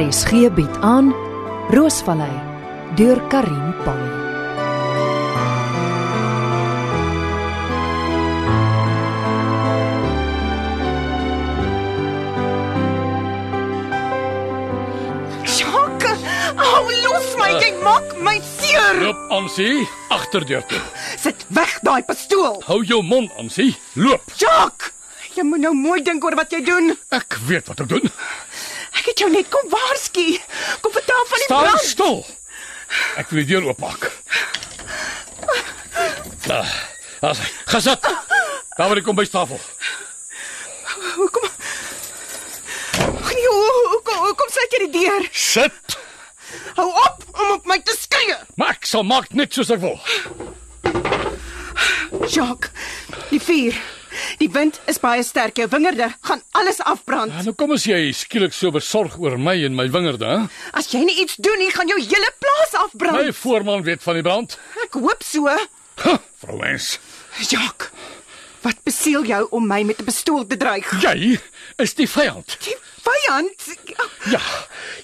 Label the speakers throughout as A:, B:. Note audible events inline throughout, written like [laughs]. A: RSG bied aan Roosvallei deur Karin Pan.
B: Jacques, hou los my, jy maak my seer.
C: Loop, Amsie, agterdeur toe.
B: Sit weg daai pistool.
C: Hou jou mond, Amsie. Loop.
B: Jacques, jy moet nou mooi dink oor wat jy doen.
C: Ek weet wat ek doen.
B: Ek het jou net kom waarsku. Kom vertel van die
C: Staan
B: brand.
C: stil. Ek wil die deur oopmaak. Daar. As gesit. Daar word ek kom by tafel.
B: Hoekom? Nee, hoe- hoekom hoekom sit jy die deur?
C: Sit.
B: Hou op om op my te skree.
C: Maar ek sal maak net soos ek wil.
B: Jacques, die vuur. Die wind is baie sterk. Jou wingerde gaan alles afbrand.
C: En nou kom as jy skielik so besorg oor my en my wingerde, hè?
B: As jy nie iets doen nie, gaan jou hele plaas
C: My
B: afbrand.
C: voorman weet van die brand.
B: Ek hoop so.
C: Huh, Vrou Mens,
B: Jacques, wat besiel jou om my met 'n pistool te dreig?
C: jy is die vyand.
B: Die vyand.
C: Ja,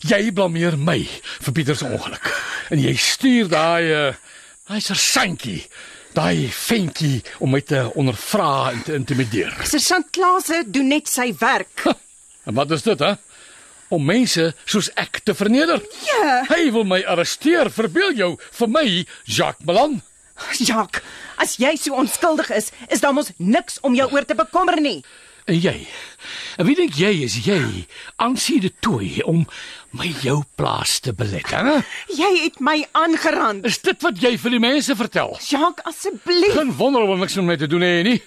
C: jy blameer my vir Pieter se ongeluk. En jy stuur daai eh, daai sersantjie, daai ventjie om my te ondervra en te intimideer.
B: Sergeant Klase doen net sy werk.
C: Ha, En wat is dit, hè? Om mense soos ek te verneder.
B: Ja.
C: Hy wil my arresteer, verbeel jou, vir my Jacques Malan.
B: [laughs] Jacques, as jy so onskuldig is, is daar mos niks om jou oor te bekommer nie.
C: En jy. En wie dink jy is jy? Ansie de Tooi om my jou plaas te belet, hè?
B: Jy het my aangerand.
C: Is dit wat jy vir die mense vertel?
B: Jacques, asseblief.
C: Geen wonder om er niks met my te doen hê nie.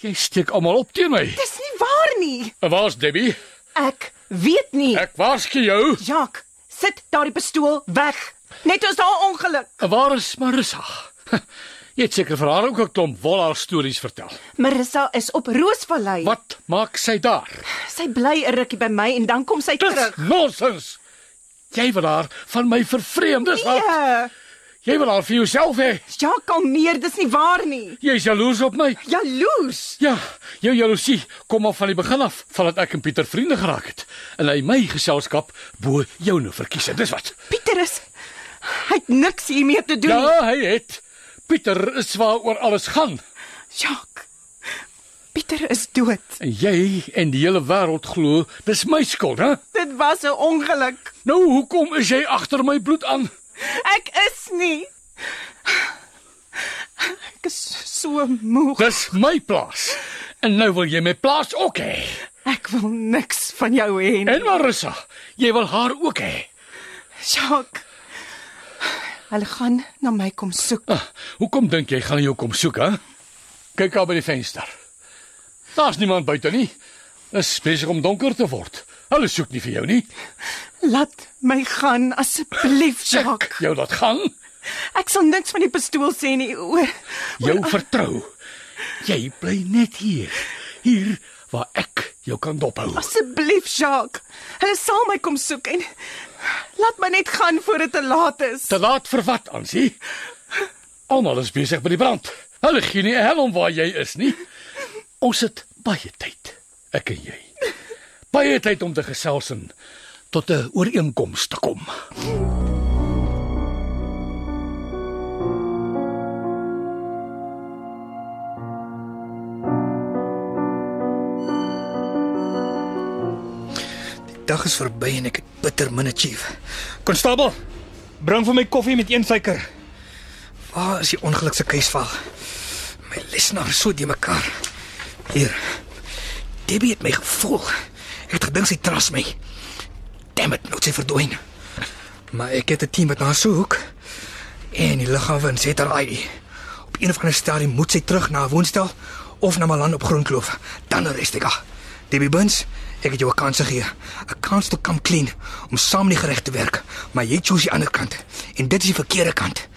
C: Jy steek almal op teen my.
B: Dis nie waar nie.
C: Waar's Debbie?
B: Ek weet nie.
C: Ek waarsku jou.
B: Jacques, sit daardie pistool weg. Net as daar ongeluk.
C: Waar is Marissa? [laughs] Jy het seker vir haar ook 'n klomp wolhaar stories vertel.
B: Marissa is op Roosvallei.
C: Wat maak sy daar?
B: Sy bly 'n rukkie by my en dan kom sy
C: Dis
B: terug.
C: nonsens. Jy wil haar van my vervreem, dis wat.
B: Ja,
C: Jy wil haar vir jouself hê.
B: Jacques, Ja, kalmeer, dis nie waar nie.
C: Jy's jaloers op my.
B: Jaloers.
C: Ja, jou jaloesie kom al van die begin af, vandat ek en Pieter vriende geraak het en hy my geselskap bo joune verkies het. Dis wat.
B: Pieter is hy het niks hiermee te doen. nie.
C: Ja, hy het. Pieter is waaroor alles gaan.
B: Jacques. Pieter is dood.
C: En jy en die hele wêreld glo dis my skuld, hè?
B: Dit was 'n ongeluk.
C: Nou hoekom is jy agter my bloed aan?
B: Ek is nie. Ek is so moeg.
C: Dis my plaas. En nou wil jy my plaas ook hê.
B: Ek wil niks van jou hê nie.
C: En Marissa, jy wil haar ook hê.
B: Jacques. Hulle gaan na my kom soek.
C: Ah, hoekom dink jy gaan jou kom soek, hè? Kyk daar by die venster. Daar's niemand buite nie. Dit is besig om donker te word. Hulle soek nie vir jou nie.
B: Laat my gaan asseblief,
C: Ek
B: Jacques.
C: jou laat gaan.
B: Ek sal niks van die pistool sê nie. O,
C: Jou vertrou. Jy bly net hier. Hier waar ek jou kan dophou.
B: asseblief, Jacques. Hulle sal my kom soek en laat my net gaan voor dit te laat is.
C: Te laat vir wat, Ansie? Almal is besig met die brand. Hulle gee nie 'n hel om waar jy is nie. Ons het baie tyd, ek en jy. Baie tyd om te gesels en tot 'n ooreenkoms te kom.
D: Dag is verby en ek het bitter min achieve.
E: Konstabel, bring vir my koffie met een suiker.
D: Waar is die ongeluk se keusval? My lesenaar is nou so die mekaar. Hier. Debbie het my gevolg. Ek het gedink sy tras my. Damn it, nou het sy verdwyn. Maar ek het 'n team wat na haar soek. En die lughawens het haar ID. Op een of ander stadium moet sy terug na haar woonstel of na Malan op Groenkloof. Dan arrest ek haar. Debbie Burns, ek het jou 'n kans gegee. 'n Kans om kom clean om saam nie gereg te werk, maar jy choose die ander kant. En dit is die verkeerde kant.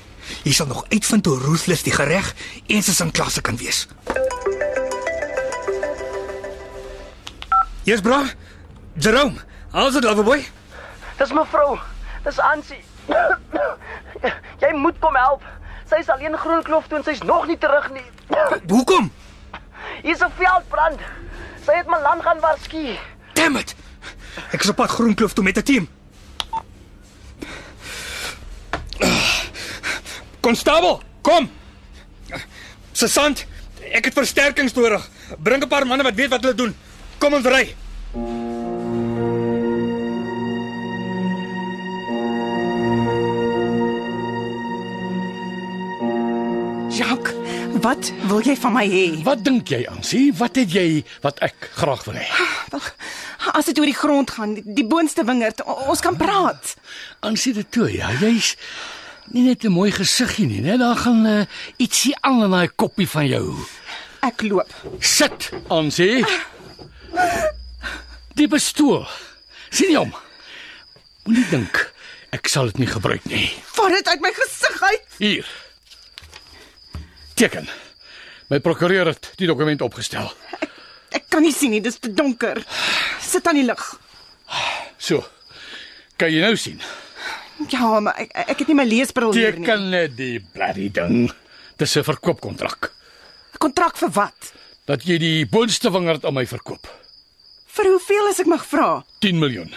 D: Jy sal nog uitvind hoe ruthless die gereg eens is aan klasse kan wees.
E: Yes, bra. Jerome, how's it, loverboy?
F: Dis mevrou. Dis Ansie. [coughs] jy moet kom help. Sy is alleen Groenkloof toe en sy's nog nie terug nie.
D: Hoekom?
F: Hier's 'n veldbrand. Sy het my land gaan waarsku.
D: Damn it. Ek is op pad Groenkloof toe met 'n team.
E: Konstabel, kom. Sesant, ek het versterkings nodig. Bring 'n paar manne wat weet wat hulle doen. Kom ons ry.
B: Jacques, wat wil jy van my hê?
C: Wat dink jy, Ansie? Wat het jy wat ek graag wil hê?
B: Wel, As dit oor die grond gaan, die- die boonste wingerd, o- ons kan praat.
C: Ansie dit toe, ja, jy's nie net 'n mooi gesiggie nie, né? Daar gaan uh, ietsie aan in daai koppie van jou.
B: Ek loop.
C: Sit, Ansie. Die bestoel. Sien jy hom? Moenie dink ek sal dit nie gebruik nie.
B: Vat dit uit my gesig uit.
C: Hier. Teken. My prokureur het die dokument opgestel.
B: Ek kan nie sien nie, dis te donker. Sit aan die lig.
C: So. Kan jy nou sien?
B: Ja, maar ek, ek het nie my leesbril Oh, hier nie.
C: Teken net die bloody ding. Dis 'n verkoopkontrak
B: Kontrak vir wat?
C: dat jy die boonste wingerd aan my verkoop.
B: Vir hoeveel as ek mag vra?
C: 10 miljoen.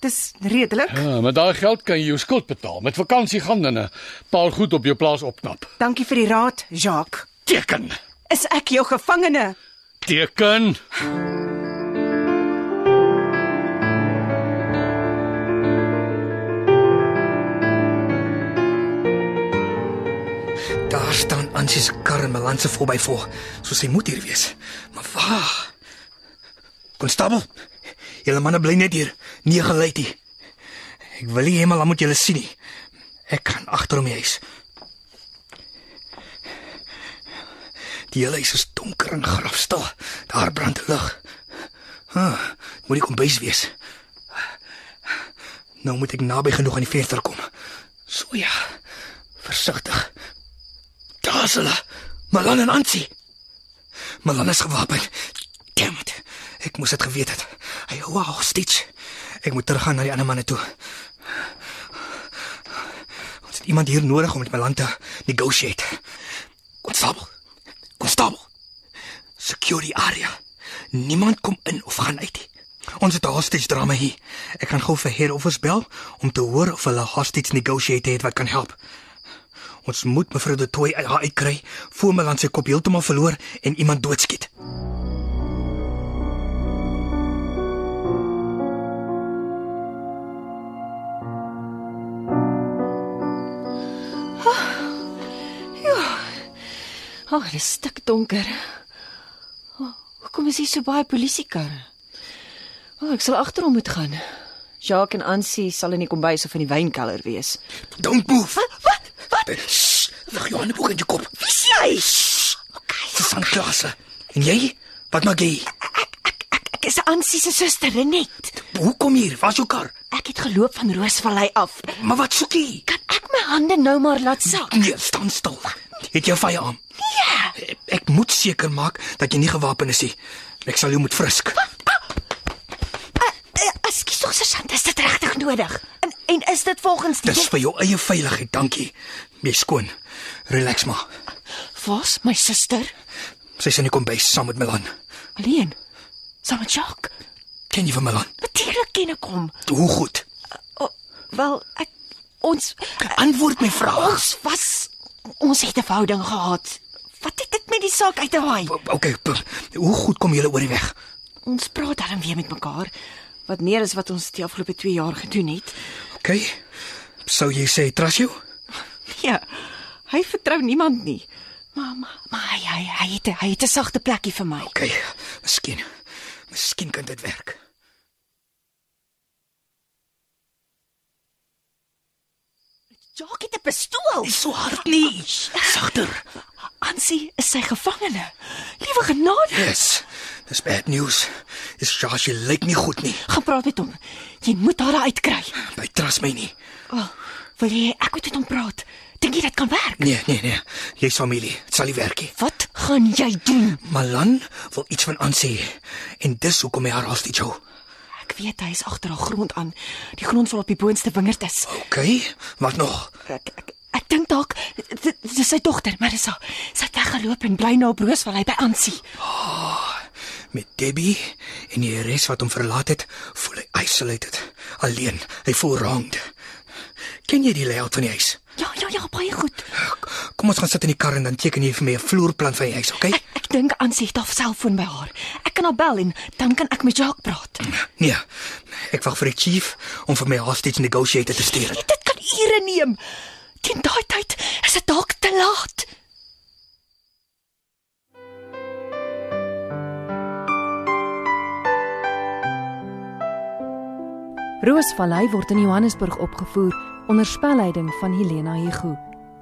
B: Dis redelik.
C: Ja, met daai geld kan jy jou skuld betaal, met vakansie gaan en 'n paar goed op jou plaas opknap.
B: Dankie vir die raad, Jacques.
C: Teken.
B: Is ek jou gevangene?
C: Teken.
D: Daar staan Ansie se kar in Melanse voorby voor. So sy moet hier wees. Maar waar? Konstabel, julle manne bly net hier. Nie gelei nie. Ek wil nie heeltemal moet julle sien nie. Ek gaan agter hom die huis. Die hele huis is donker en grafstil. Daar brand lig. Ha, huh, moet ek kombuis wees. Nou moet ek naby genoeg aan die venster kom. So ja. Versigtig. Daar's hulle. Malan en Ansie. Malan is gewapen. Damn it. Ek moes dit geweet het. Hy hou haar hostage. Ek moet teruggaan na die ander manne toe. Ons het iemand hier nodig om met Malan te negotiate. Konstabel. Konstabel. Security area. Niemand kom in of gaan uit nie. Ons het 'n hostage drama hier. Ek gaan gou vir Heer Offers bel om te hoor of hulle hostage negotiate het wat kan help. Ons moet mevrou De Tooy uit haar uitkry voor Milan sy kop heeltemal verloor en iemand doodskiet.
G: Ag, dit is stik donker. O, Hoekom is hier so baie polisiekarre? O, ek sal agter hom moet gaan. Jacques en Ansie sal in die kombuis of in die wynkelder wees.
D: Don't move.
G: Wat? Wat?
D: Shh, lig jou hande bo in jou kop.
G: Wie's jy?
D: Dis van klasse. En jy? Wat maak jy? hier?
G: Ek is Ansie se suster Renet.
D: Hoe kom jy hier? Waar's jou kar?
G: Ek het geloop van Roosvallei af.
D: Maar wat soek jy?
G: Kan ek my hande nou maar laat sak?
D: Nee, staan stil. Het jy 'n firearm? Ja.
G: Nee.
D: Ek moet seker maak dat jy nie gewapen is nie. Ek sal jou moet frisk.
G: Eh, Ekskuus tog, sergeant, is dit regtig nodig? En en is dit volgens die
D: Dis vir jou eie veiligheid, dankie. Jy skoon. Relax maar.
G: Waar's my suster?
D: Sy sien ek kom by saam met Milan.
G: Alleen. Saam met Jacques.
D: Ken jy van Milan?
G: Natuurlik ken ek hom.
D: Hoe goed?
G: O, wel, ek ons
D: Antwoord my vraag.
G: Ons was ons het 'n verhouding gehad. Wat het dit met die saak uit te haai?
D: Okay, p- hoe goed kom julle oor die weg?
G: Ons praat darm weer met mekaar wat meer is wat ons die afgelope 2 jaar gedoen het.
D: Okay. Sou jy sê trust jou?
G: Ja. Hy vertrou niemand nie. Maar maar, maar hy hy hy het 'n- hy het 'n sagte plekkie vir my.
D: Okay. Miskien. Miskien kan dit werk.
G: Jacques het 'n pistool.
D: So hard nie. Sagter.
G: Ansie is sy gevangene. Liewe genade.
D: Yes. Dis bad news. Dis Josh, jy lyk nie goed nie.
G: Gaan praat met hom. Jy moet haar daar uitkry.
D: By trust my nie.
G: Oh, wil jy ek moet met hom praat? Dink jy dit kan werk?
D: Nee, nee, nee. Jy's familie. Dit sal nie werk nie.
G: Wat gaan jy doen?
D: Malan wil iets van aan sê en dis hoekom hy haar hostage hou.
G: Ek weet hy is agter haar grond aan. Die grond wat op die boonste wingerd is.
D: Okay. Wat nog?
G: Ek ek, ek dink dalk dit- dit dit is sy dogter, Marissa. Sy het weggeloop en bly nou op Roosvallei by Ansie.
D: Met Debbie en die res wat hom verlaat het, voel hy isolated, alleen. Hy voel wronged. Ken jy die layout van die huis?
G: Ja ja ja, baie goed.
D: Kom ons gaan sit in die kar en dan teken jy vir my 'n vloerplan van die huis, okay?
G: Ek, ek dink Ansie het haar selfoon by haar. Ek kan haar bel en dan kan ek met Jacques praat.
D: Nee. Ek wag vir die chief om vir my hostage negotiator te stuur.
G: Dit kan ure neem. Teen daai tyd is dit dalk te laat.
A: Roosvallei word in Johannesburg opgevoer onder spelleiding van Helena Hugo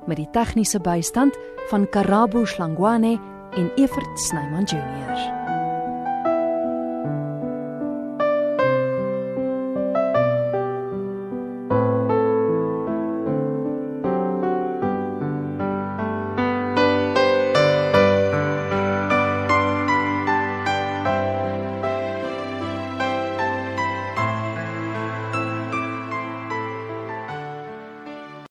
A: met die tegniese bystand van Karabo Slangwane en Evert Snyman Junior.